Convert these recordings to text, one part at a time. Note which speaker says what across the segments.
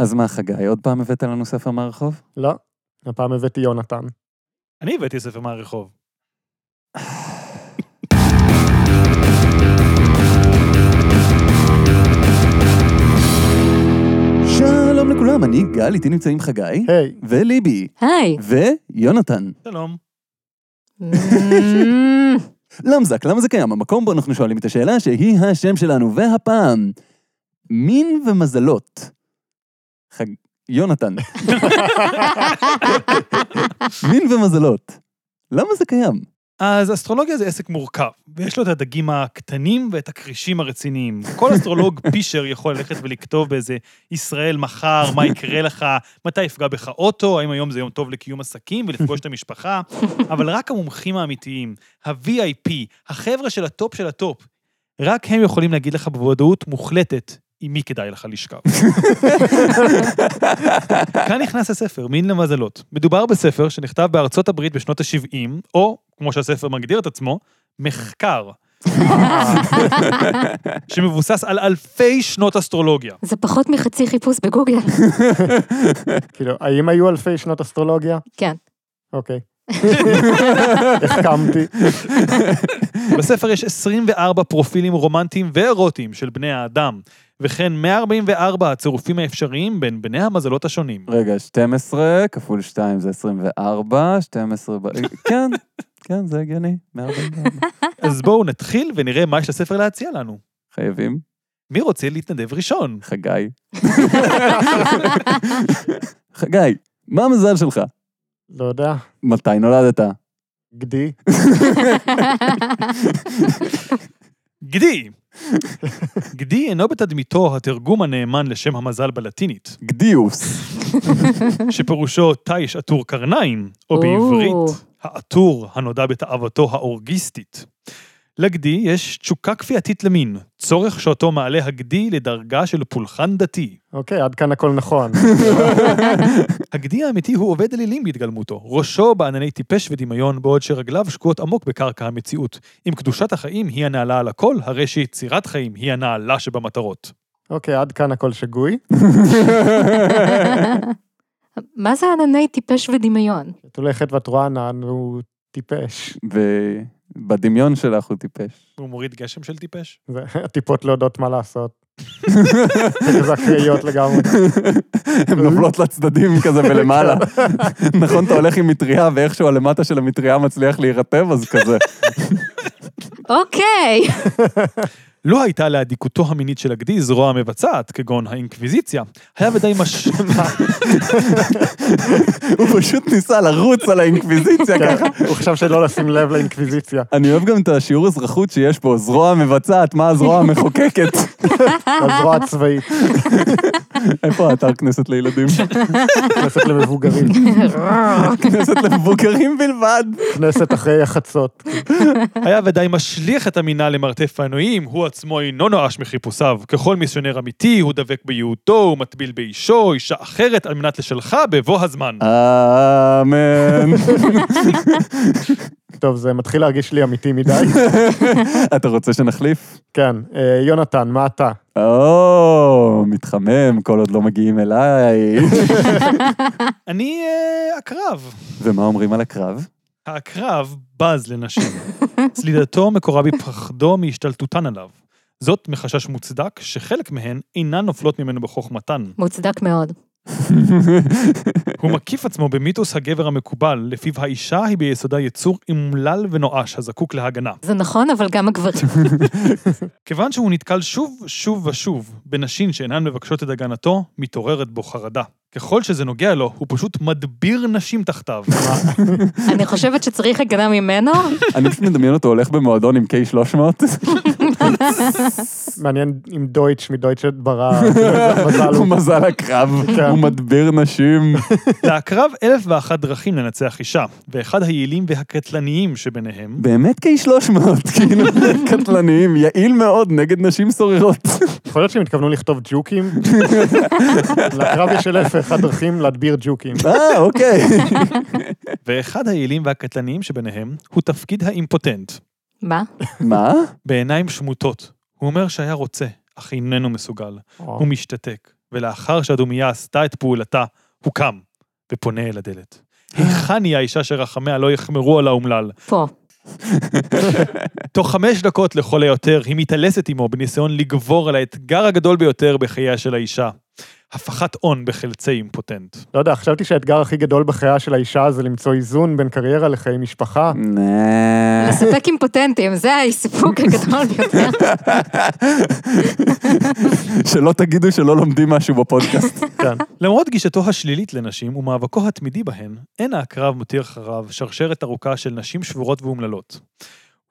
Speaker 1: אז מה, חגי, עוד פעם הבאת לנו ספר מהרחוב?
Speaker 2: לא, הפעם הבאתי יונתן.
Speaker 3: אני הבאתי ספר מהרחוב.
Speaker 1: שלום לכולם, אני גל, איתי נמצאים חגי,
Speaker 2: היי,
Speaker 1: וליבי,
Speaker 4: היי.
Speaker 1: ויונתן.
Speaker 3: שלום.
Speaker 4: Mm,
Speaker 1: למזק, למה זה קיים? המקום בו אנחנו שואלים את השאלה שהיא השם שלנו, והפעם, מין ומזלות. חג... יונתן. מין ומזלות. למה זה קיים?
Speaker 3: אז אסטרולוגיה זה עסק מורכב, ויש לו את הדגים הקטנים ואת הכרישים הרציניים. כל אסטרולוג פישר יכול ללכת ולכתוב באיזה ישראל מחר, מה יקרה לך, מתי יפגע בך אוטו, האם היום זה יום טוב לקיום עסקים ולפגוש את המשפחה, אבל רק המומחים האמיתיים, ה-VIP, החבר'ה של הטופ של הטופ, רק הם יכולים להגיד לך בוודאות מוחלטת עם מי כדאי לך לשכב. כאן נכנס הספר, מין למזלות. מדובר בספר שנכתב בארצות הברית בשנות ה-70, או, כמו שהספר מגדיר את עצמו, מחקר. שמבוסס על אלפי שנות אסטרולוגיה.
Speaker 4: זה פחות מחצי חיפוש בגוגל.
Speaker 2: כאילו, האם היו אלפי שנות אסטרולוגיה?
Speaker 4: כן.
Speaker 2: אוקיי. החכמתי.
Speaker 3: בספר יש 24 פרופילים רומנטיים ואירוטיים של בני האדם, וכן 144 הצירופים האפשריים בין בני המזלות השונים.
Speaker 1: רגע, 12 כפול 2 זה 24, 12 ב... כן, כן, זה הגיוני, 144.
Speaker 3: אז בואו נתחיל ונראה מה יש לספר להציע לנו.
Speaker 1: חייבים,
Speaker 3: מי רוצה להתנדב ראשון?
Speaker 1: חגי. חגי, מה המזל שלך?
Speaker 2: לא יודע,
Speaker 1: מתי נולדת?
Speaker 2: גדי.
Speaker 3: גדי! גדי אינו בתדמיתו התרגום הנאמן לשם המזל בלטינית,
Speaker 1: גדיוס.
Speaker 3: שפירושו תיש עטור קרניים, או בעברית, העטור הנודע בתאוותו האורגיסטית. לגדי יש תשוקה כפייתית למין, צורך שאותו מעלה הגדי לדרגה של פולחן דתי.
Speaker 2: אוקיי, עד כאן הכל נכון.
Speaker 3: הגדי האמיתי הוא עובד אלילים בהתגלמותו, ראשו בענני טיפש ודמיון, בעוד שרגליו שקועות עמוק בקרקע המציאות. אם קדושת החיים היא הנעלה על הכל, הרי שיצירת חיים היא הנעלה שבמטרות.
Speaker 2: אוקיי, עד כאן הכל שגוי.
Speaker 4: מה זה ענני טיפש ודמיון?
Speaker 2: את הולכת ואת רואה ענן והוא טיפש.
Speaker 1: ובדמיון שלך הוא טיפש.
Speaker 3: הוא מוריד גשם של טיפש?
Speaker 2: זה- הטיפות לא יודעות מה לעשות. זה כזה אקראיות לגמרי.
Speaker 1: הן נופלות לצדדים כזה ולמעלה. נכון, אתה הולך עם מטריה, ואיכשהו הלמטה של המטריה מצליח להירטב, אז כזה.
Speaker 4: אוקיי.
Speaker 3: לא הייתה לאדיקותו המינית של הגדי זרוע מבצעת, כגון האינקוויזיציה. היה ודי מש...
Speaker 1: הוא פשוט ניסה לרוץ על האינקוויזיציה ככה.
Speaker 2: כן, הוא חשב שלא לשים לב לאינקוויזיציה.
Speaker 1: אני אוהב גם את השיעור אזרחות שיש פה, זרוע מבצעת, מה הזרוע המחוקקת.
Speaker 2: הזרוע הצבאית,
Speaker 1: איפה האתר כנסת לילדים?
Speaker 2: כנסת למבוגרים,
Speaker 1: כנסת למבוגרים בלבד.
Speaker 2: כנסת אחרי החצות.
Speaker 3: היה ודאי משליך את המינה למרתף העינויים, הוא עצמו אינו נואש מחיפושיו. ככל מיסיונר אמיתי, הוא דבק בייעודו, הוא מטביל באישו, אישה אחרת, על מנת לשלחה בבוא הזמן.
Speaker 1: אמן.
Speaker 2: טוב, זה מתחיל להרגיש לי אמיתי מדי.
Speaker 1: אתה רוצה שנחליף?
Speaker 2: כן, אה, יונתן, מה אתה?
Speaker 1: או, מתחמם, כל עוד לא מגיעים אליי.
Speaker 3: אני אה, הקרב.
Speaker 1: ומה אומרים על הקרב?
Speaker 3: העקרב בז לנשים. צלידתו מקורה בפחדו מהשתלטותן עליו. זאת מחשש מוצדק, שחלק מהן אינן נופלות ממנו בחוכמתן.
Speaker 4: מוצדק מאוד.
Speaker 3: הוא מקיף עצמו במיתוס הגבר המקובל, לפיו האישה היא ביסודה יצור אומלל ונואש הזקוק להגנה.
Speaker 4: זה נכון, אבל גם הגברים.
Speaker 3: כיוון שהוא נתקל שוב, שוב ושוב בנשים שאינן מבקשות את הגנתו, מתעוררת בו חרדה. ככל שזה נוגע לו, הוא פשוט מדביר נשים תחתיו.
Speaker 4: אני חושבת שצריך הגנה ממנו.
Speaker 1: אני פשוט מדמיין אותו הולך במועדון עם K300.
Speaker 2: מעניין אם דויטש מדויטש ברא, כאילו, מזל
Speaker 1: הוא
Speaker 2: הוא.
Speaker 1: מזל הקרב,
Speaker 2: כן.
Speaker 1: הוא מדביר נשים.
Speaker 3: לעקרב אלף ואחת דרכים לנצח אישה, ואחד היעילים והקטלניים שביניהם,
Speaker 1: באמת K300, כאילו, קטלניים, יעיל מאוד נגד נשים סוררות.
Speaker 2: יכול להיות שהם התכוונו לכתוב ג'וקים? לקרב יש אלף ואחת דרכים להדביר ג'וקים.
Speaker 1: אה, אוקיי.
Speaker 3: ואחד היעילים והקטלניים שביניהם, הוא תפקיד האימפוטנט,
Speaker 4: מה?
Speaker 1: מה?
Speaker 3: בעיניים שמוטות. הוא אומר שהיה רוצה, אך איננו מסוגל. הוא משתתק, ולאחר שהדומייה עשתה את פעולתה, הוא קם ופונה אל הדלת. היכן היא האישה שרחמיה לא יחמרו על האומלל?
Speaker 4: פה.
Speaker 3: תוך חמש דקות לכל היותר, היא מתעלסת עמו בניסיון לגבור על האתגר הגדול ביותר בחייה של האישה. הפחת הון בחלצי אימפוטנט.
Speaker 2: לא יודע, חשבתי שהאתגר הכי גדול בחייה של האישה זה למצוא איזון בין קריירה לחיי משפחה.
Speaker 1: נה.
Speaker 4: לספק אימפוטנטים, זה הסיפוק הגדול ביותר.
Speaker 1: שלא תגידו שלא לומדים משהו בפודקאסט.
Speaker 2: כן.
Speaker 3: למרות גישתו השלילית לנשים ומאבקו התמידי בהן, אין העקרב מותיר אחריו שרשרת ארוכה של נשים שבורות ואומללות.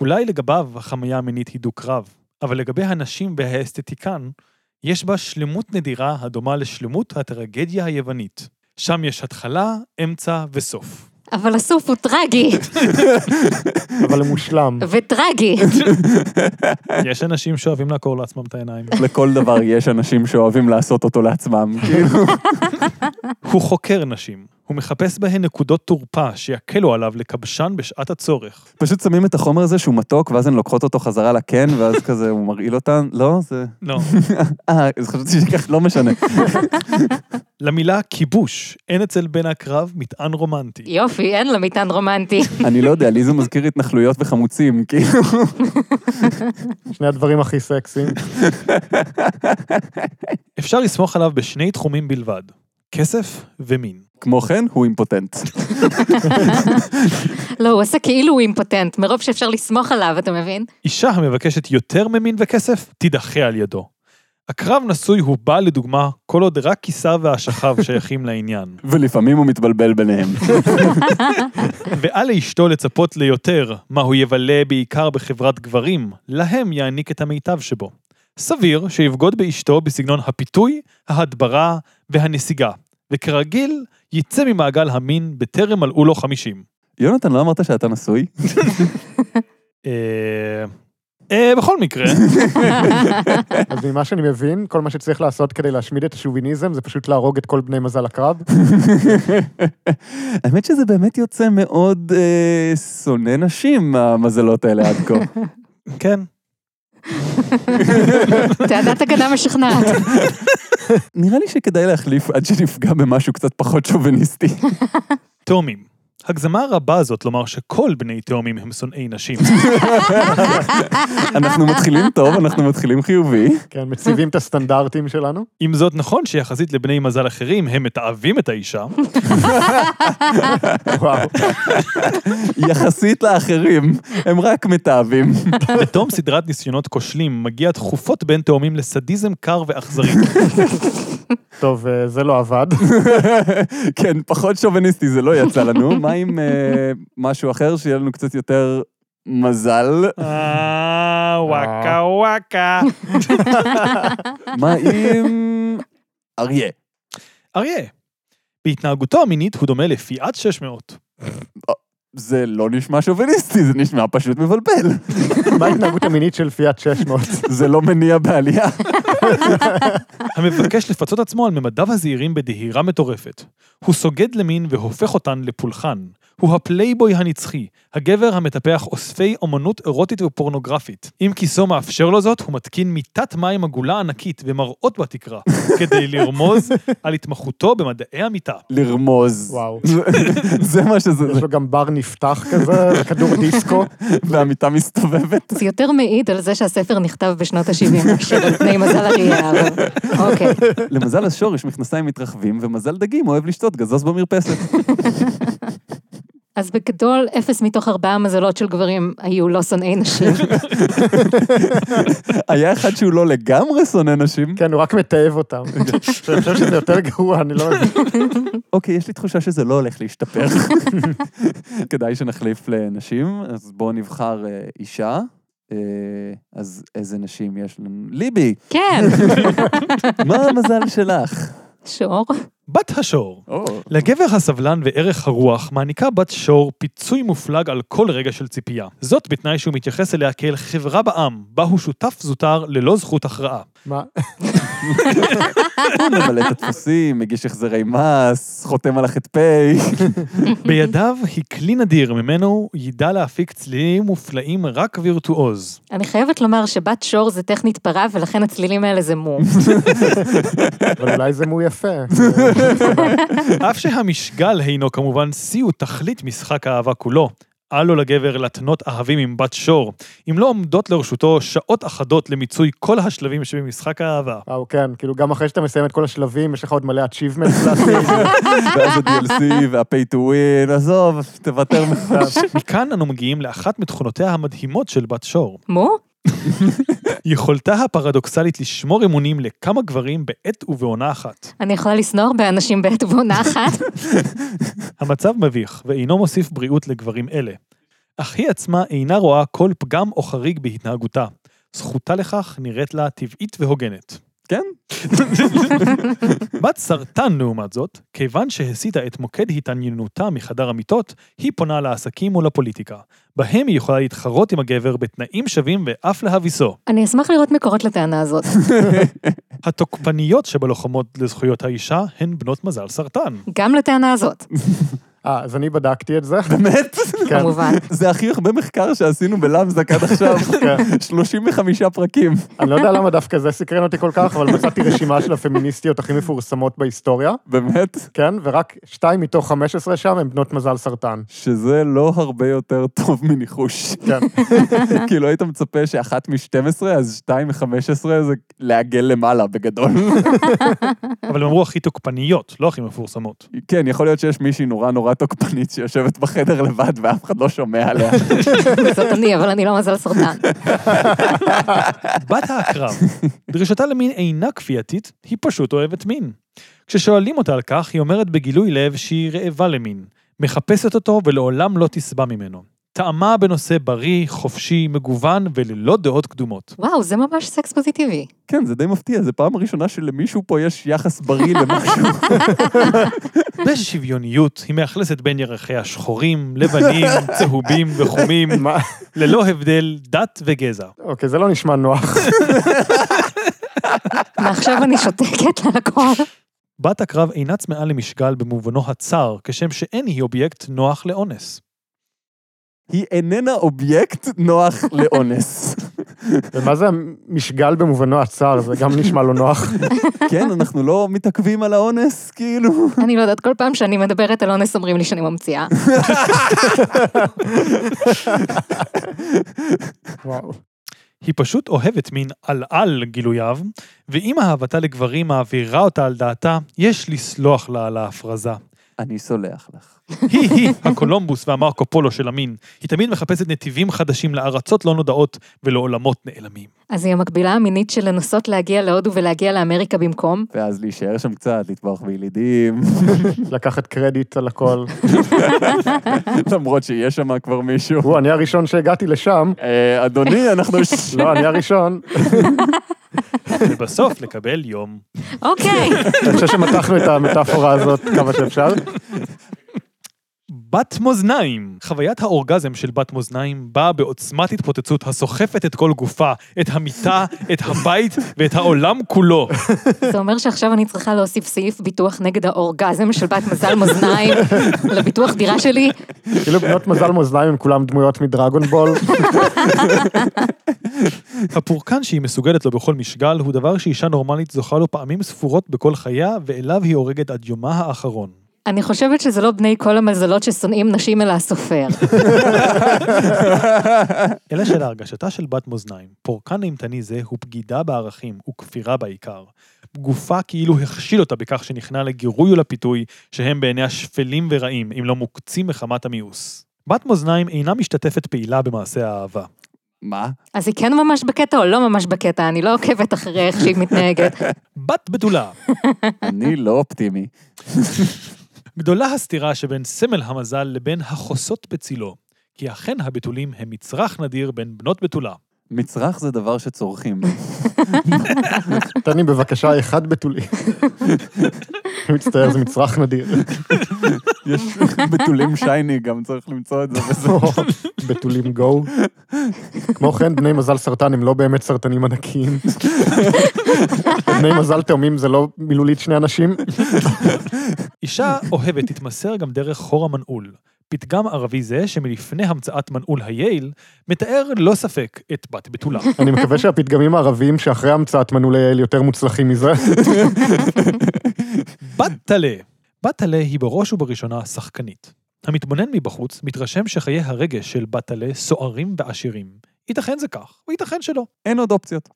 Speaker 3: אולי לגביו החמיה המינית היא דו-קרב, אבל לגבי הנשים והאסתטיקן, יש בה שלמות נדירה הדומה לשלמות הטרגדיה היוונית. שם יש התחלה, אמצע וסוף.
Speaker 4: אבל הסוף הוא טרגי,
Speaker 2: אבל הוא מושלם.
Speaker 4: וטרגי.
Speaker 3: יש אנשים שאוהבים לעקור לעצמם את העיניים.
Speaker 1: לכל דבר יש אנשים שאוהבים לעשות אותו לעצמם. כאילו,
Speaker 3: הוא חוקר נשים, הוא מחפש בהן נקודות תורפה שיקלו עליו לכבשן בשעת הצורך.
Speaker 1: פשוט שמים את החומר הזה שהוא מתוק, ואז הן לוקחות אותו חזרה לקן, ואז כזה הוא מרעיל אותן. לא, זה...
Speaker 3: לא.
Speaker 1: אה, אז חשבתי שכך, לא משנה.
Speaker 3: למילה כיבוש אין אצל בן הקרב מטען רומנטי.
Speaker 4: יופי, אין לה מטען רומנטי.
Speaker 1: אני לא יודע, לי זה מזכיר התנחלויות וחמוצים, כאילו.
Speaker 2: שני הדברים הכי סקסיים.
Speaker 3: אפשר לסמוך עליו בשני תחומים בלבד, כסף ומין.
Speaker 1: כמו כן, הוא אימפוטנט.
Speaker 4: לא, הוא עשה כאילו הוא אימפוטנט, מרוב שאפשר לסמוך עליו, אתה מבין?
Speaker 3: אישה המבקשת יותר ממין וכסף, תידחה על ידו. הקרב נשוי הוא בא לדוגמה, כל עוד רק כיסיו ואשכיו שייכים לעניין.
Speaker 1: ולפעמים הוא מתבלבל ביניהם.
Speaker 3: ואל לאשתו לצפות ליותר, מה הוא יבלה בעיקר בחברת גברים, להם יעניק את המיטב שבו. סביר שיבגוד באשתו בסגנון הפיתוי, ההדברה והנסיגה, וכרגיל, יצא ממעגל המין בטרם מלאו לו 50.
Speaker 1: יונתן, לא אמרת שאתה נשוי?
Speaker 3: אה... אה, בכל מקרה,
Speaker 2: אז ממה שאני מבין, כל מה שצריך לעשות כדי להשמיד את השוביניזם זה פשוט להרוג את כל בני מזל הקרב.
Speaker 1: האמת שזה באמת יוצא מאוד אה, שונא נשים, המזלות האלה עד כה.
Speaker 3: כן,
Speaker 4: תעדת אגדה משכנעת.
Speaker 1: נראה לי שכדאי להחליף עד שנפגע במשהו קצת פחות שוביניסטי.
Speaker 3: תאומים. הגזמה הרבה הזאת לומר שכל בני תאומים הם שונאי נשים.
Speaker 1: אנחנו מתחילים טוב, אנחנו מתחילים חיובי.
Speaker 2: כן, מציבים את הסטנדרטים שלנו.
Speaker 3: אם זאת נכון שיחסית לבני מזל אחרים הם מתעבים את האישה,
Speaker 2: וואו.
Speaker 1: יחסית לאחרים, הם רק מתעבים.
Speaker 3: בתום סדרת ניסיונות כושלים מגיע תכופות בין תאומים לסדיזם קר ואכזרי.
Speaker 2: טוב, אה, זה לא עבד.
Speaker 1: כן, פחות שוביניסטי זה לא יצא לנו. מה עם אה, משהו אחר שיהיה לנו קצת יותר מזל?
Speaker 3: אה, וואקה וואקה.
Speaker 1: מה עם... אריה.
Speaker 3: אריה, בהתנהגותו המינית הוא דומה לפיאט 600.
Speaker 1: זה לא נשמע שוביניסטי, זה נשמע פשוט מבלבל.
Speaker 2: מה ההתנהגות המינית של פיאט 600?
Speaker 1: זה לא מניע בעלייה.
Speaker 3: המבקש לפצות עצמו על ממדיו הזעירים בדהירה מטורפת. הוא סוגד למין והופך אותן לפולחן. הוא הפלייבוי הנצחי, הגבר המטפח אוספי אומנות אירוטית ופורנוגרפית. אם כיסו מאפשר לו זאת, הוא מתקין מיטת מים עגולה ענקית ומראות בתקרה, כדי לרמוז על התמחותו במדעי המיטה.
Speaker 1: לרמוז.
Speaker 2: וואו.
Speaker 1: זה- זה מה שזה,
Speaker 2: יש לו גם בר נפתח כזה, כדור דיסקו.
Speaker 1: והמיטה מסתובבת.
Speaker 4: זה יותר מעיד על זה שהספר נכתב בשנות ה-70, מאשר על פני מזל אריה, אבל... אוקיי.
Speaker 1: למזל השורש מכנסיים מתרחבים, ומזל דגים אוהב לשתות גזוז במרפסת.
Speaker 4: אז בגדול, אפס מתוך ארבעה מזלות של גברים היו לא שונאי נשים.
Speaker 1: היה אחד שהוא לא לגמרי שונא נשים.
Speaker 2: כן, הוא רק מתעב אותם. אני חושב שזה יותר גרוע, אני לא מבין.
Speaker 1: אוקיי, יש לי תחושה שזה לא הולך להשתפר. כדאי שנחליף לנשים, אז בואו נבחר אה, אישה. אה, אז איזה נשים יש לנו? ליבי,
Speaker 4: כן,
Speaker 1: מה המזל שלך?
Speaker 4: שור.
Speaker 3: בת השור.
Speaker 1: או,
Speaker 3: לגבר הסבלן וערך הרוח מעניקה בת שור פיצוי מופלג על כל רגע של ציפייה. זאת בתנאי שהוא מתייחס אליה כאל חברה בעם, בה הוא שותף זוטר ללא זכות הכרעה.
Speaker 2: מה?
Speaker 1: ממלא את הטפסים, מגיש החזרי מס, חותם על החטפי.
Speaker 3: בידיו היא כלי נדיר, ממנו ידע להפיק צלילים מופלאים רק וירטואוז.
Speaker 4: אני חייבת לומר שבת שור זה טכנית פרה, ולכן הצלילים האלה זה מו.
Speaker 2: אבל אולי זה מו יפה.
Speaker 3: אף שהמשגל הינו כמובן שיא ותכלית משחק האהבה כולו. אל לו לגבר להתנות אהבים עם בת שור, אם לא עומדות לרשותו שעות אחדות למיצוי כל השלבים שבמשחק האהבה.
Speaker 2: וואו, כן, כאילו גם אחרי שאתה מסיים את כל השלבים, יש לך עוד מלא achievements לעשות.
Speaker 1: ואז ה-DLC וה-pay to win, עזוב, תוותר מחדש.
Speaker 3: מכאן אנו מגיעים לאחת מתכונותיה המדהימות של בת שור.
Speaker 4: מו?
Speaker 3: יכולתה הפרדוקסלית לשמור אמונים לכמה גברים בעת ובעונה אחת.
Speaker 4: אני יכולה לשנוא הרבה אנשים בעת ובעונה אחת.
Speaker 3: המצב מביך, ואינו מוסיף בריאות לגברים אלה. אך היא עצמה אינה רואה כל פגם או חריג בהתנהגותה. זכותה לכך נראית לה טבעית והוגנת.
Speaker 1: כן.
Speaker 3: בת סרטן, לעומת זאת, כיוון שהסיטה את מוקד התעניינותה מחדר המיטות, היא פונה לעסקים או לפוליטיקה. בהם היא יכולה להתחרות עם הגבר בתנאים שווים ואף להביסו.
Speaker 4: אני אשמח לראות מקורות לטענה הזאת.
Speaker 3: התוקפניות שבלוחמות לזכויות האישה הן בנות מזל סרטן.
Speaker 4: גם לטענה הזאת,
Speaker 2: אה, אז אני בדקתי את זה.
Speaker 1: באמת?
Speaker 2: כן.
Speaker 4: כמובן.
Speaker 1: זה הכי הרבה מחקר שעשינו בלמזק עד עכשיו,
Speaker 2: כן.
Speaker 1: 35 פרקים.
Speaker 2: אני לא יודע למה דווקא זה סקרן אותי כל כך, אבל מצאתי רשימה של הפמיניסטיות הכי מפורסמות בהיסטוריה,
Speaker 1: באמת?
Speaker 2: כן? ורק שתיים מתוך 15 שם הן בנות מזל סרטן.
Speaker 1: שזה לא הרבה יותר טוב מניחוש.
Speaker 2: כן.
Speaker 1: כאילו היית מצפה שאחת מ-12, אז שתיים מ-15 זה לעגל למעלה בגדול.
Speaker 3: אבל הם אמרו הכי תוקפניות, לא הכי מפורסמות.
Speaker 1: כן, יכול להיות שיש מישהי נורא נורא תוקפנית שיושבת בחדר לבד ואף אחד לא שומע עליה.
Speaker 4: זאת אני, אבל אני לא מזל סרטן.
Speaker 3: בת העקרב, דרישתה למין אינה כפייתית, היא פשוט אוהבת מין. כששואלים אותה על כך, היא אומרת בגילוי לב שהיא רעבה למין, מחפשת אותו ולעולם לא תשבע ממנו. טעמה בנושא בריא, חופשי, מגוון וללא דעות קדומות.
Speaker 4: וואו, זה ממש סקס פוזיטיבי.
Speaker 1: כן, זה די מפתיע, זו פעם ראשונה שלמישהו פה יש יחס בריא למשהו.
Speaker 3: בשוויוניות, היא מאכלסת בין ירחיה שחורים, לבנים, צהובים וחומים,
Speaker 2: מה?
Speaker 3: ללא הבדל דת וגזע.
Speaker 2: אוקיי, זה לא נשמע נוח.
Speaker 4: מעכשיו אני שותקת על הכל.
Speaker 3: בת הקרב אינה צמאה למשגל במובנו הצר, כשם שאין היא אובייקט נוח לאונס.
Speaker 1: היא איננה אובייקט נוח לאונס.
Speaker 2: ומה זה המשגל במובנו הצר? זה גם נשמע לא נוח.
Speaker 1: כן, אנחנו לא מתעכבים על האונס, כאילו.
Speaker 4: אני לא יודעת, כל פעם שאני מדברת על אונס אומרים לי שאני ממציאה.
Speaker 2: וואו.
Speaker 3: היא פשוט אוהבת מין על-על גילוייו, ואם אהבתה לגברים מעבירה אותה על דעתה, יש לסלוח לה על ההפרזה.
Speaker 1: אני סולח לך.
Speaker 3: היא-היא הקולומבוס והמרקו פולו של המין. היא תמיד מחפשת נתיבים חדשים לארצות לא נודעות ולעולמות נעלמים.
Speaker 4: אז היא המקבילה המינית של לנסות להגיע להודו ולהגיע לאמריקה במקום.
Speaker 1: ואז להישאר שם קצת, לטבוח בילידים,
Speaker 2: לקחת קרדיט על הכל.
Speaker 1: למרות שיש שם כבר מישהו.
Speaker 2: וואו, אני הראשון שהגעתי לשם.
Speaker 1: אה, אדוני, אנחנו...
Speaker 2: לא, אני הראשון.
Speaker 3: ובסוף לקבל יום.
Speaker 4: אוקיי.
Speaker 2: אני חושב שמתחנו את המטאפורה הזאת כמה שאפשר.
Speaker 3: בת מאזניים. חוויית האורגזם של בת מאזניים באה בעוצמת התפוצצות הסוחפת את כל גופה, את המיטה, את הבית ואת העולם כולו.
Speaker 4: זה אומר שעכשיו אני צריכה להוסיף סעיף ביטוח נגד האורגזם של בת מזל מאזניים לביטוח דירה שלי.
Speaker 2: כאילו בנות מזל מאזניים הם כולם דמויות מדרגון בול.
Speaker 3: הפורקן שהיא מסוגלת לו בכל משגל הוא דבר שאישה נורמלית זוכה לו פעמים ספורות בכל חייה, ואליו היא הורגת עד יומה האחרון.
Speaker 4: אני חושבת שזה לא בני כל המזלות ששונאים נשים אלא הסופר.
Speaker 3: אלא שלהרגשתה של בת מאזניים, פורקן אימתני זה הוא בגידה בערכים, הוא כפירה בעיקר. גופה כאילו הכשיל אותה בכך שנכנע לגירוי ולפיתוי, שהם בעיניה שפלים ורעים, אם לא מוקצים מחמת המיאוס. בת מאזניים אינה משתתפת פעילה במעשה האהבה.
Speaker 1: מה?
Speaker 4: אז היא כן ממש בקטע או לא ממש בקטע, אני לא עוקבת אחרי איך שהיא מתנהגת.
Speaker 3: בת בתולה!
Speaker 1: אני לא אופטימי.
Speaker 3: גדולה הסתירה שבין סמל המזל לבין החוסות בצילו, כי אכן הבתולים הם מצרך נדיר בין בנות בתולה.
Speaker 1: מצרך זה דבר שצורכים.
Speaker 2: תן לי בבקשה אחד בתולי. אני מצטער, זה מצרך נדיר.
Speaker 1: יש בתולים שייני, גם צריך למצוא את זה וזה.
Speaker 2: בתולים גו. כמו כן, בני מזל סרטן הם לא באמת סרטנים ענקיים. בני מזל תאומים זה לא מילולית שני אנשים.
Speaker 3: אישה אוהבת תתמסר גם דרך חור המנעול. פתגם ערבי זה, שמלפני המצאת מנעול הייל, מתאר ללא ספק את בת בתולה.
Speaker 2: אני מקווה שהפתגמים הערביים שאחרי המצאת מנעולי האל יותר מוצלחים מזה.
Speaker 3: בת טלה. בת טלה היא בראש ובראשונה שחקנית. המתבונן מבחוץ מתרשם שחיי הרגש של בת טלה סוערים ועשירים. ייתכן זה כך, וייתכן שלא.
Speaker 1: אין עוד אופציות.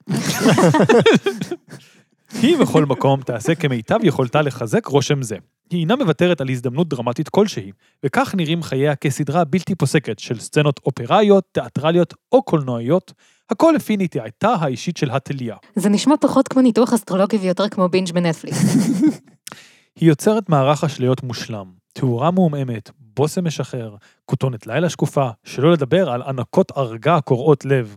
Speaker 3: היא בכל מקום תעשה כמיטב יכולתה לחזק רושם זה. היא אינה מוותרת על הזדמנות דרמטית כלשהי, וכך נראים חייה כסדרה בלתי פוסקת של סצנות אופראיות, תיאטרליות או קולנועיות, הכל לפי נטייתה האישית של הטליה.
Speaker 4: זה נשמע פחות כמו ניתוח אסטרולוגי ויותר כמו בינג' בנטפליקס.
Speaker 3: היא יוצרת מערך אשליות מושלם, תאורה מעומעמת, בושם משחרר, כותונת לילה שקופה, שלא לדבר על ענקות ערגה קורעות לב.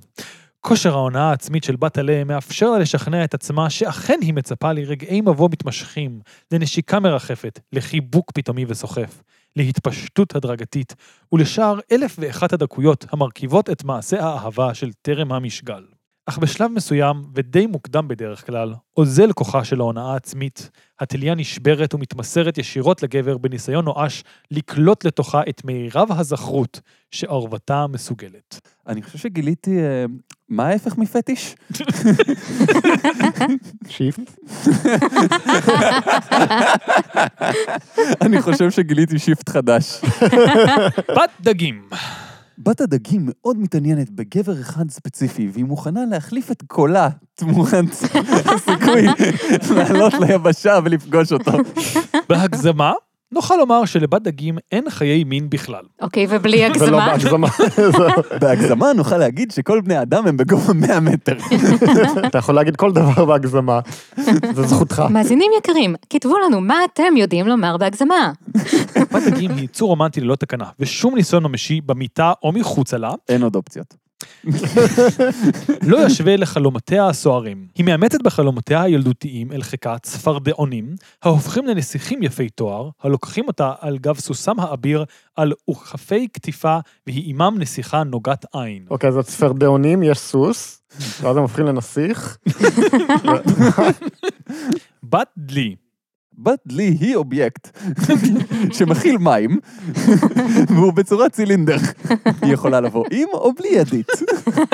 Speaker 3: כושר ההונאה העצמית של בת עלה מאפשר לה לשכנע את עצמה שאכן היא מצפה לרגעי מבוא מתמשכים, לנשיקה מרחפת, לחיבוק פתאומי וסוחף, להתפשטות הדרגתית, ולשאר אלף ואחת הדקויות המרכיבות את מעשה האהבה של טרם המשגל. אך בשלב מסוים, ודי מוקדם בדרך כלל, אוזל כוחה של ההונאה העצמית. התליה נשברת ומתמסרת ישירות לגבר בניסיון נואש לקלוט לתוכה את מירב הזכרות שערוותה מסוגלת.
Speaker 1: אני חושב שגיליתי אה, מה ההפך מפטיש.
Speaker 2: שיפט.
Speaker 1: אני חושב שגיליתי שיפט חדש.
Speaker 3: בת דגים.
Speaker 1: בת הדגים מאוד מתעניינת בגבר אחד ספציפי, והיא מוכנה להחליף את קולה תמורת הסיכוי לעלות ליבשה ולפגוש אותו.
Speaker 3: בהגזמה, נוכל לומר שלבת דגים אין חיי מין בכלל.
Speaker 4: אוקיי, ובלי
Speaker 2: ולא
Speaker 4: הגזמה.
Speaker 2: לא בהגזמה.
Speaker 1: בהגזמה נוכל להגיד שכל בני האדם הם בגובה 100 מטר.
Speaker 2: אתה יכול להגיד כל דבר בהגזמה. זו זכותך.
Speaker 4: מאזינים יקרים, כתבו לנו מה אתם יודעים לומר בהגזמה.
Speaker 3: בת דגים היא יצור רומנטי ללא תקנה, ושום ניסיון ממשי במיטה או מחוצה לה,
Speaker 1: אין עוד אופציות.
Speaker 3: לא ישווה לחלומותיה הסוערים. היא מאמצת בחלומותיה הילדותיים אל חיקה צפרדעונים, ההופכים לנסיכים יפי תואר, הלוקחים אותה על גב סוסם האביר, על וכפי קטיפה, והיא עימם נסיכה נוגת עין.
Speaker 2: אוקיי, אז הצפרדעונים, יש סוס, ואז הם הופכים לנסיך.
Speaker 3: בת דלי,
Speaker 1: בת לי היא אובייקט שמכיל מים, והוא בצורת צילינדר. היא יכולה לבוא עם או בלי ידית.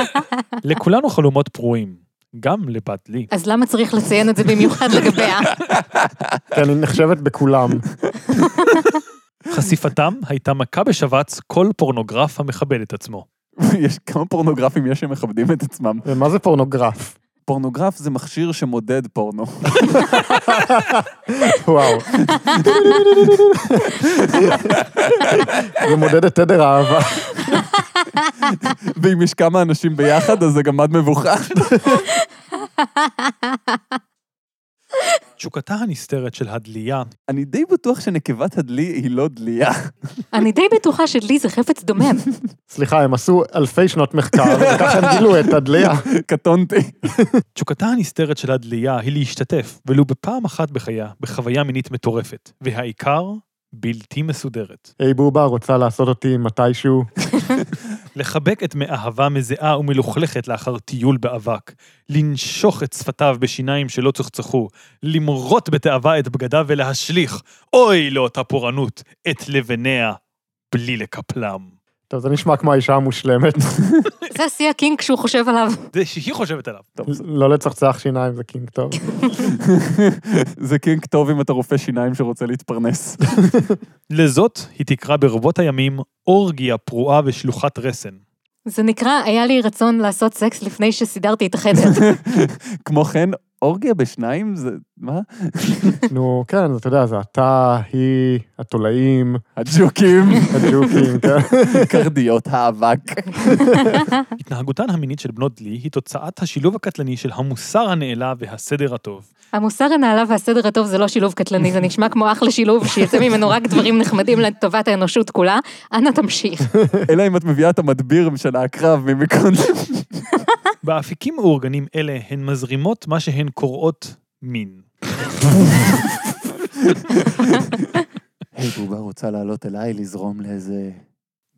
Speaker 3: לכולנו חלומות פרועים. גם לבת דלי.
Speaker 4: אז למה צריך לציין את זה במיוחד לגביה?
Speaker 2: כן, היא נחשבת בכולם.
Speaker 3: חשיפתם הייתה מכה בשבץ כל פורנוגרף המכבד את עצמו.
Speaker 1: יש כמה פורנוגרפים יש שמכבדים את עצמם.
Speaker 2: ומה זה פורנוגרף?
Speaker 1: פורנוגרף זה מכשיר שמודד פורנו.
Speaker 2: וואו. זה מודד את תדר האהבה.
Speaker 1: ואם יש כמה אנשים ביחד, אז זה גם עד מבוכח.
Speaker 3: תשוקתה הנסתרת של הדליה
Speaker 1: אני די בטוח שנקבת הדלי היא לא דליה.
Speaker 4: אני די בטוחה שלי זה חפץ דומם.
Speaker 2: סליחה, הם עשו אלפי שנות מחקר, וככה הם גילו את הדליה.
Speaker 1: קטונתי.
Speaker 3: תשוקתה הנסתרת של הדליה היא להשתתף, ולו בפעם אחת בחייה, בחוויה מינית מטורפת, והעיקר, בלתי מסודרת.
Speaker 2: היי בובה רוצה לעשות אותי מתישהו.
Speaker 3: לחבק את מאהבה מזיעה ומלוכלכת לאחר טיול באבק, לנשוך את שפתיו בשיניים שלא צחצחו, למרוט בתאווה את בגדיו ולהשליך, אוי לאותה פורענות, את לבניה, בלי לקפלם.
Speaker 2: טוב, זה נשמע כמו האישה המושלמת.
Speaker 4: זה השיא הקינג שהוא חושב עליו.
Speaker 3: זה שהיא חושבת עליו.
Speaker 2: לא לצחצח שיניים זה קינג טוב.
Speaker 1: זה קינג טוב אם אתה רופא שיניים שרוצה להתפרנס.
Speaker 3: לזאת היא תקרא ברבות הימים אורגיה פרועה ושלוחת רסן.
Speaker 4: זה נקרא, היה לי רצון לעשות סקס לפני שסידרתי את החדר.
Speaker 1: כמו כן, אורגיה בשניים זה... מה?
Speaker 2: נו, כן, אתה יודע, זה אתה, היא, התולעים,
Speaker 1: הג'וקים,
Speaker 2: הג'וקים, כן.
Speaker 1: קרדיות האבק.
Speaker 3: התנהגותן המינית של בנות דלי היא תוצאת השילוב הקטלני של המוסר הנעלה והסדר הטוב.
Speaker 4: המוסר הנעלה והסדר הטוב זה לא שילוב קטלני, זה נשמע כמו אחלה שילוב שיצא ממנו רק דברים נחמדים לטובת האנושות כולה. אנא תמשיך.
Speaker 1: אלא אם את מביאה את המדביר של העקרב ממקודם.
Speaker 3: באפיקים מאורגנים אלה הן מזרימות מה שהן קוראות מין.
Speaker 1: היי, בובה רוצה לעלות אליי, לזרום לאיזה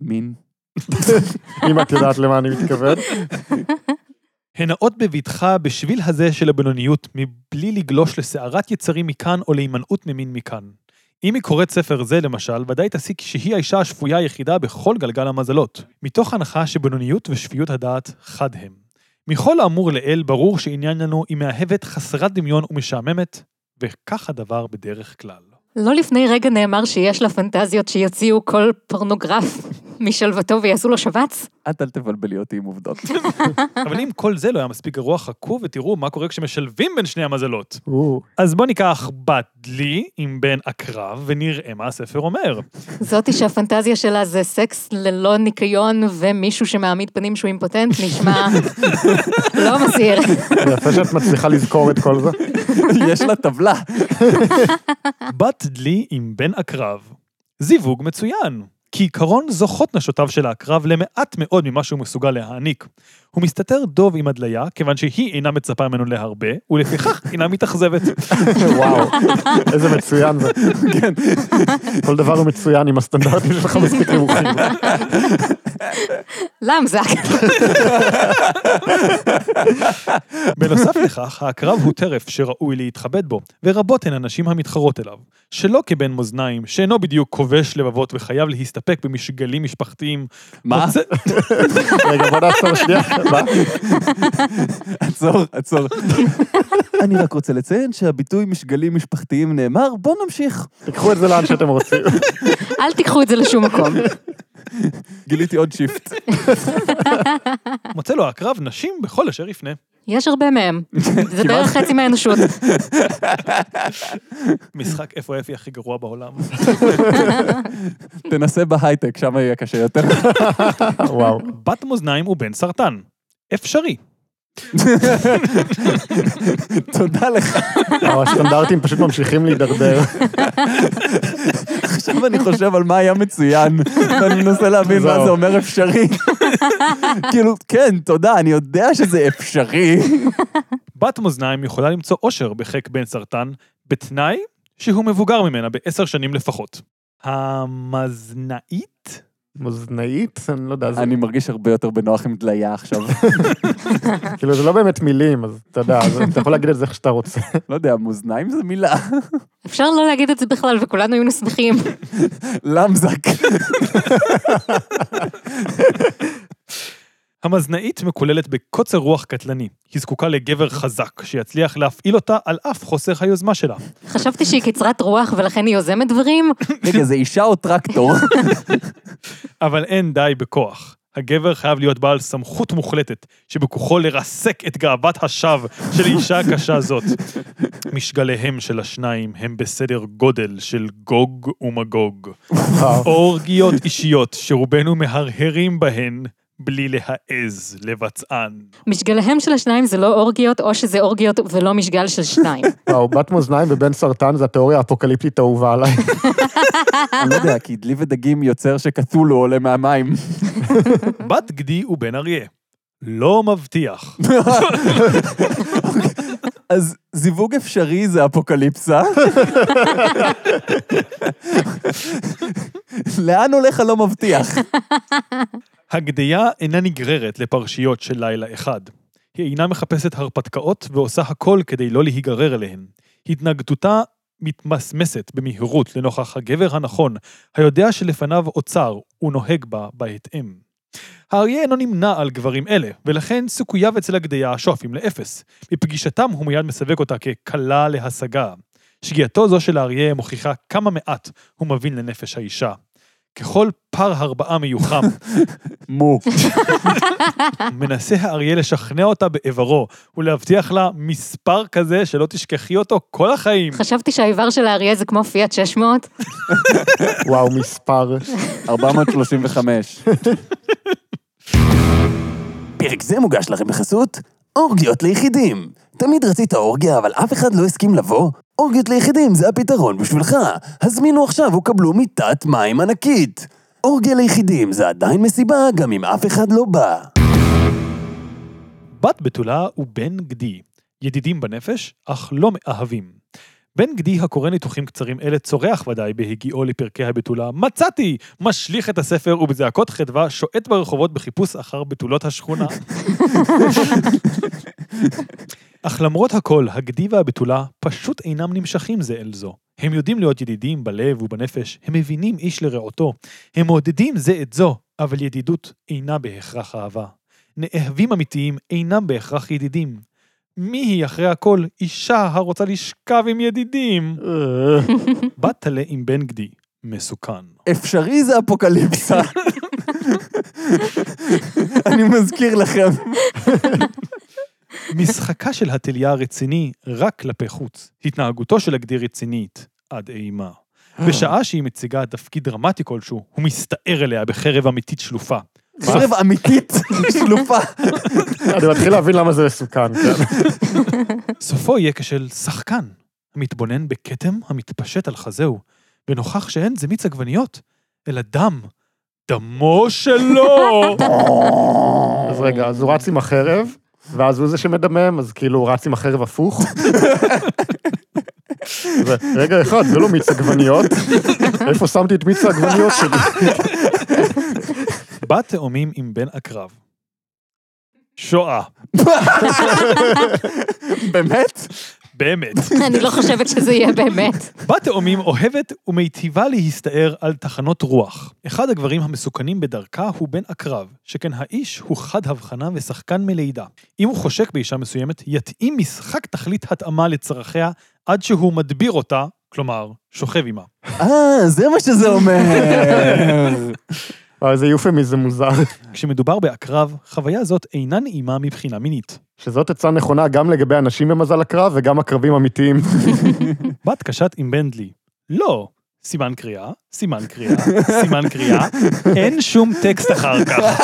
Speaker 1: מין?
Speaker 2: אם את יודעת למה אני מתכוון.
Speaker 3: הן נעות בבטחה בשביל הזה של הבינוניות, מבלי לגלוש לסערת יצרים מכאן או להימנעות ממין מכאן. אם היא קוראת ספר זה, למשל, ודאי תסיק שהיא האישה השפויה היחידה בכל גלגל המזלות, מתוך הנחה שבינוניות ושפיות הדעת חד הם. מכל האמור לאל, ברור שעניין לנו היא מאהבת חסרת דמיון ומשעממת, וכך הדבר בדרך כלל.
Speaker 4: לא לפני רגע נאמר שיש לה פנטזיות שיוציאו כל פורנוגרף משלוותו ויעשו לו שבץ?
Speaker 1: את אל תבלבלי אותי עם עובדות.
Speaker 3: אבל אם כל זה לא היה מספיק גרוע, חכו ותראו מה קורה כשמשלבים בין שני המזלות.
Speaker 2: או,
Speaker 3: אז בוא ניקח בת דלי עם בן עקרב ונראה מה הספר אומר.
Speaker 4: זאתי שהפנטזיה שלה זה סקס ללא ניקיון ומישהו שמעמיד פנים שהוא אימפוטנט, נשמע לא מסעיר.
Speaker 2: יפה שאת מצליחה לזכור את כל זה.
Speaker 1: יש לה טבלה.
Speaker 3: בת דלי עם בן עקרב. זיווג מצוין. כעיקרון זוכות נשותיו של העקרב למעט מאוד ממה שהוא מסוגל להעניק. הוא מסתתר דוב עם הדליה, כיוון שהיא אינה מצפה ממנו להרבה, ולפיכך אינה מתאכזבת.
Speaker 2: וואו, איזה מצוין זה.
Speaker 1: כן.
Speaker 2: כל דבר הוא מצוין עם הסטנדרטים שלך מספיק נמוכים.
Speaker 4: למזק.
Speaker 3: בנוסף לכך, העקרב הוא טרף שראוי להתכבד בו, ורבות הן הנשים המתחרות אליו. שלא כבן מאזניים, שאינו בדיוק כובש לבבות וחייב להסתפק במשגלים משפחתיים.
Speaker 1: מה?
Speaker 3: מוצא-
Speaker 2: רגע, בוא נעצור שנייה. מה?
Speaker 1: עצור, עצור. אני רק רוצה לציין שהביטוי משגלים משפחתיים נאמר, בוא נמשיך.
Speaker 2: תיקחו את זה לאן שאתם רוצים.
Speaker 4: אל תיקחו את זה לשום מקום.
Speaker 1: גיליתי עוד שיפט.
Speaker 3: מוצא לו העקרב נשים בכל אשר יפנה.
Speaker 4: יש הרבה מהם. זה בערך חצי מהאנושות.
Speaker 3: משחק איפה אפי הכי גרוע בעולם.
Speaker 1: תנסה בהייטק, שם יהיה קשה יותר.
Speaker 2: אה, וואו.
Speaker 3: בת מאזניים ובן סרטן. אפשרי.
Speaker 1: תודה לך.
Speaker 2: וואו, הסטנדרטים פשוט ממשיכים להידרדר.
Speaker 1: עכשיו אני חושב על מה היה מצוין, ואני מנסה להבין מה
Speaker 2: זהו.
Speaker 1: זה אומר אפשרי. כאילו, כן, תודה, אני יודע שזה אפשרי.
Speaker 3: בת מאזניים יכולה למצוא אושר בחיק בן סרטן, בתנאי שהוא מבוגר ממנה בעשר שנים לפחות. המאזנאית?
Speaker 2: מאזנאית? אני לא יודע, זה-
Speaker 1: אני מרגיש הרבה יותר בנוח עם דליה עכשיו.
Speaker 2: כאילו זה לא באמת מילים, אז אתה יודע, אז אתה יכול להגיד את זה איך שאתה רוצה.
Speaker 1: לא יודע, מאזניים זה מילה.
Speaker 4: אפשר לא להגיד את זה בכלל, וכולנו היינו שמחים.
Speaker 1: למזק.
Speaker 3: המזנאית מקוללת בקוצר רוח קטלני. היא זקוקה לגבר חזק, שיצליח להפעיל אותה על אף חוסר היוזמה שלה.
Speaker 4: חשבתי שהיא קצרת רוח ולכן היא יוזמת דברים.
Speaker 1: רגע, זה אישה או טרקטור?
Speaker 3: אבל אין די בכוח. הגבר חייב להיות בעל סמכות מוחלטת, שבכוחו לרסק את גאוות השווא של אישה קשה זאת. משגליהם של השניים הם בסדר גודל של גוג ומגוג.
Speaker 2: וואו.
Speaker 3: אורגיות אישיות שרובנו מהרהרים בהן בלי להעז לבצען.
Speaker 4: משגליהם של השניים זה לא אורגיות, או שזה אורגיות ולא משגל של שניים.
Speaker 2: וואו, בת מאזניים ובן סרטן זה התיאוריה האפוקליפטית האהובה עליי.
Speaker 1: אני לא יודע, כי דלי ודגים יוצר שקתולו עולה מהמים.
Speaker 3: בת גדי ובן אריה. לא מבטיח.
Speaker 1: אז זיווג אפשרי זה אפוקליפסה. לאן הולך הלא מבטיח?
Speaker 3: הגדיה אינה נגררת לפרשיות של לילה אחד. היא אינה מחפשת הרפתקאות ועושה הכל כדי לא להיגרר אליהן. התנגדותה מתמסמסת במהירות לנוכח הגבר הנכון, היודע שלפניו אוצר ונוהג בה בהתאם. האריה אינו נמנה על גברים אלה, ולכן סיכוייו אצל הגדיה שואפים לאפס. בפגישתם הוא מיד מסווג אותה כקלה להשגה. שגיאתו זו של האריה מוכיחה כמה מעט הוא מבין לנפש האישה. ככל פר הרבעה מיוחם,
Speaker 1: מו.
Speaker 3: מנסה האריה לשכנע אותה באיברו, ולהבטיח לה מספר כזה שלא תשכחי אותו כל החיים.
Speaker 4: חשבתי שהאיבר של האריה זה כמו פיאט 600.
Speaker 2: וואו, מספר.
Speaker 1: 435. פרק זה מוגש לכם בחסות אורגיות ליחידים. תמיד רצית אורגיה, אבל אף אחד לא הסכים לבוא? אורגיות ליחידים זה הפתרון בשבילך. הזמינו עכשיו וקבלו מיטת מים ענקית. אורגיה ליחידים זה עדיין מסיבה גם אם אף אחד לא בא.
Speaker 3: בת בתולה ובן גדי, ידידים בנפש, אך לא מאהבים. בן גדי, הקורא ניתוחים קצרים אלה, צורח ודאי בהגיעו לפרקי הבתולה. מצאתי! משליך את הספר ובזעקות חדווה שועט ברחובות בחיפוש אחר בתולות השכונה. אך למרות הכל, הגדי והבתולה פשוט אינם נמשכים זה אל זו. הם יודעים להיות ידידים בלב ובנפש, הם מבינים איש לרעותו, הם מעודדים זה את זו, אבל ידידות אינה בהכרח אהבה. נאהבים אמיתיים אינם בהכרח ידידים. מי היא אחרי הכל אישה הרוצה לשכב עם ידידים?
Speaker 2: אה.
Speaker 3: בת תלה עם בן גדי, מסוכן.
Speaker 1: אפשרי זה אפוקליפסה. אני מזכיר לכם.
Speaker 3: משחקה של הטליה הרציני רק כלפי חוץ. התנהגותו של הגדי רצינית, עד אימה. בשעה שהיא מציגה תפקיד דרמטי כלשהו, הוא מסתער אליה בחרב אמיתית שלופה.
Speaker 1: חרב אמיתית, שלופה.
Speaker 2: אני מתחיל להבין למה זה מסוכן, כן.
Speaker 3: סופו יהיה כשל שחקן, המתבונן בכתם המתפשט על חזהו, ונוכח שאין זה מיץ עגבניות, אלא דם. דמו שלו!
Speaker 2: אז רגע, אז הוא רץ עם החרב, ואז הוא זה שמדמם, אז כאילו הוא רץ עם החרב הפוך. ו- רגע אחד, זה לא מיץ עגבניות. איפה שמתי את מיץ העגבניות שלי?
Speaker 3: בת תאומים עם בן עקרב. שואה,
Speaker 1: באמת?
Speaker 3: באמת.
Speaker 4: אני לא חושבת שזה יהיה באמת.
Speaker 3: בת תאומים אוהבת ומיטיבה להסתער על תחנות רוח. אחד הגברים המסוכנים בדרכה הוא בן עקרב, שכן האיש הוא חד הבחנה ושחקן מלידה. אם הוא חושק באישה מסוימת, יתאים משחק תכלית התאמה לצרכיה עד שהוא מדביר אותה, כלומר, שוכב עימה.
Speaker 1: אה, זה מה שזה אומר.
Speaker 2: אה, איזה יופמיזם מוזר.
Speaker 3: כשמדובר בעקרב, חוויה זאת אינה נעימה מבחינה מינית.
Speaker 2: שזאת עצה נכונה גם לגבי אנשים במזל הקרב וגם הקרבים אמיתיים.
Speaker 3: בת קשת עם בנדלי. לא. סימן קריאה, סימן קריאה, סימן קריאה, אין שום טקסט אחר כך.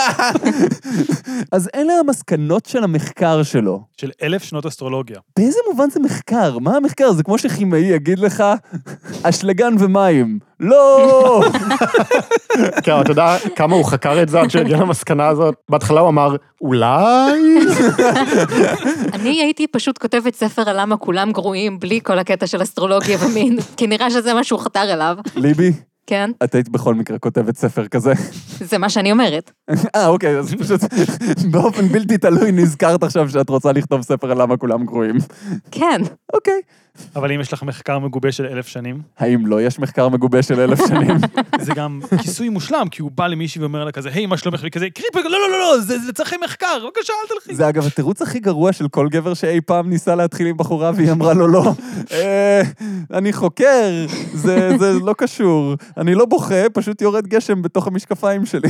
Speaker 1: אז אלה המסקנות של המחקר שלו.
Speaker 3: של אלף שנות אסטרולוגיה.
Speaker 1: באיזה מובן זה מחקר? מה המחקר? זה כמו שכימאי יגיד לך, אשלגן ומים. לא!
Speaker 2: כן, אבל אתה יודע כמה הוא חקר את זה עד שהגיע למסקנה הזאת? בהתחלה הוא אמר, אולי?
Speaker 4: אני הייתי פשוט כותבת ספר על למה כולם גרועים, בלי כל הקטע של אסטרולוגיה ומין, כי נראה שזה מה שהוא חתר אליו,
Speaker 1: ליבי,
Speaker 4: כן?
Speaker 1: את היית בכל מקרה כותבת ספר כזה.
Speaker 4: זה מה שאני אומרת.
Speaker 1: אה, אוקיי, אז פשוט באופן בלתי תלוי נזכרת עכשיו שאת רוצה לכתוב ספר על למה כולם גרועים.
Speaker 4: כן.
Speaker 1: אוקיי.
Speaker 3: אבל אם יש לך מחקר מגובה של אלף שנים,
Speaker 1: האם לא יש מחקר מגובה של אלף שנים?
Speaker 3: זה גם כיסוי מושלם, כי הוא בא למישהי ואומר לה כזה, היי, מה שלומך? והיא כזה, קריפר, לא, לא, לא, לא, זה זה לצרכי מחקר, בבקשה, אל תלכי.
Speaker 1: זה אגב התירוץ הכי גרוע של כל גבר שאי פעם ניסה להתחיל עם בחורה והיא אמרה לו לא. אה, אני חוקר, זה זה לא קשור. אני לא בוכה, פשוט יורד גשם בתוך המשקפיים שלי.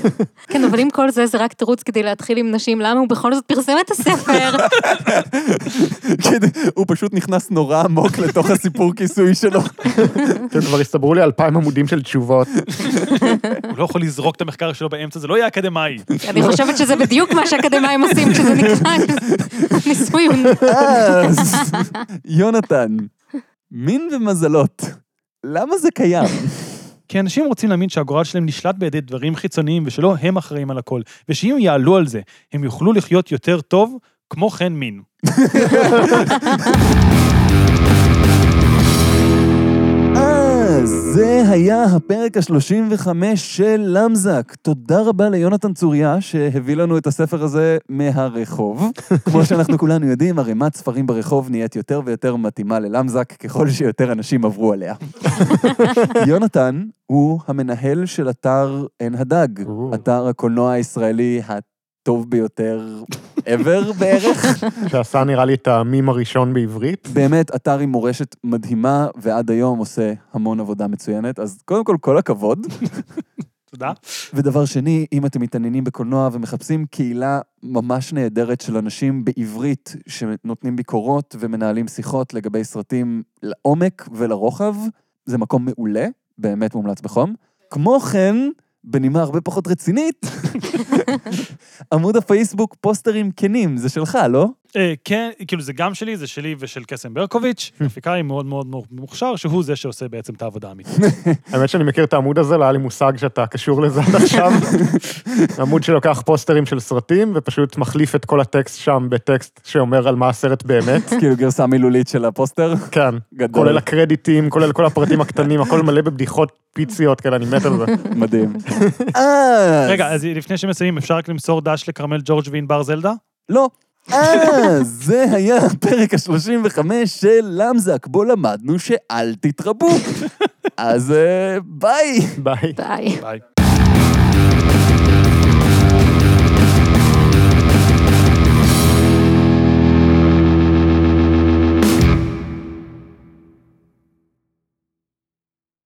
Speaker 4: כן, אבל עם כל זה, זה רק תירוץ כדי להתחיל עם נשים, למה הוא בכל זאת פרסם את הספר?
Speaker 1: כדי- הוא פשוט נכנס נורא עמוק לתוך הסיפור כיסוי שלו.
Speaker 2: כן, כבר הסתברו לי אלפיים עמודים של תשובות.
Speaker 3: הוא לא יכול לזרוק את המחקר שלו באמצע, זה לא יהיה אקדמאי.
Speaker 4: אני חושבת שזה בדיוק מה שאקדמאים עושים כשזה נקרא ניסוי.
Speaker 1: אז, יונתן, מין ומזלות, למה זה קיים?
Speaker 3: כי אנשים רוצים להאמין שהגורל שלהם נשלט בידי דברים חיצוניים, ושלא הם אחראים על הכל, ושאם יעלו על זה, הם יוכלו לחיות יותר טוב, כמו כן מין.
Speaker 1: אה, זה היה הפרק ה-35 של למזק. תודה רבה ליונתן צוריה, שהביא לנו את הספר הזה מהרחוב. כמו שאנחנו כולנו יודעים, ערימת ספרים ברחוב נהיית יותר ויותר מתאימה ללמזק, ככל שיותר אנשים עברו עליה. יונתן הוא המנהל של אתר עין הדג,
Speaker 2: או.
Speaker 1: אתר הקולנוע הישראלי הטוב ביותר ever בערך.
Speaker 2: שעשה נראה לי את המים הראשון בעברית.
Speaker 1: באמת אתר עם מורשת מדהימה, ועד היום עושה המון עבודה מצוינת, אז קודם כל, כל הכבוד.
Speaker 3: תודה.
Speaker 1: ודבר שני, אם אתם מתעניינים בקולנוע ומחפשים קהילה ממש נהדרת של אנשים בעברית שנותנים ביקורות ומנהלים שיחות לגבי סרטים לעומק ולרוחב, זה מקום מעולה, באמת מומלץ בחום. כמו כן, בנימה הרבה פחות רצינית, עמוד הפייסבוק פוסטרים כנים, זה שלך, לא?
Speaker 3: אה, כן, כאילו זה גם שלי, זה שלי ושל קסם ברקוביץ', אפיקאי מאוד מאוד מוכשר, שהוא זה שעושה בעצם את העבודה האמיתית.
Speaker 2: האמת שאני מכיר את העמוד הזה, לא היה לי מושג שאתה קשור לזה עד עכשיו. עמוד שלוקח פוסטרים של סרטים, ופשוט מחליף את כל הטקסט שם בטקסט שאומר על מה הסרט באמת.
Speaker 5: כאילו גרסה מילולית של הפוסטר.
Speaker 2: כן.
Speaker 5: גדול.
Speaker 2: כולל הקרדיטים, כולל כל הפרטים הקטנים, הכל מלא בבדיחות פיציות כאלה, אני מת על זה.
Speaker 5: מדהים.
Speaker 1: אז...
Speaker 3: רגע, אז לפני שמסיימים, אפשר רק למסור דש לכרמל ג'ורג' וענבר זלדה?
Speaker 5: לא.
Speaker 1: אז זה היה הפרק ה-35 של למזק, בו למדנו שאל תתרבו. אז אה, ביי.
Speaker 2: ביי.
Speaker 4: ביי.
Speaker 3: ביי.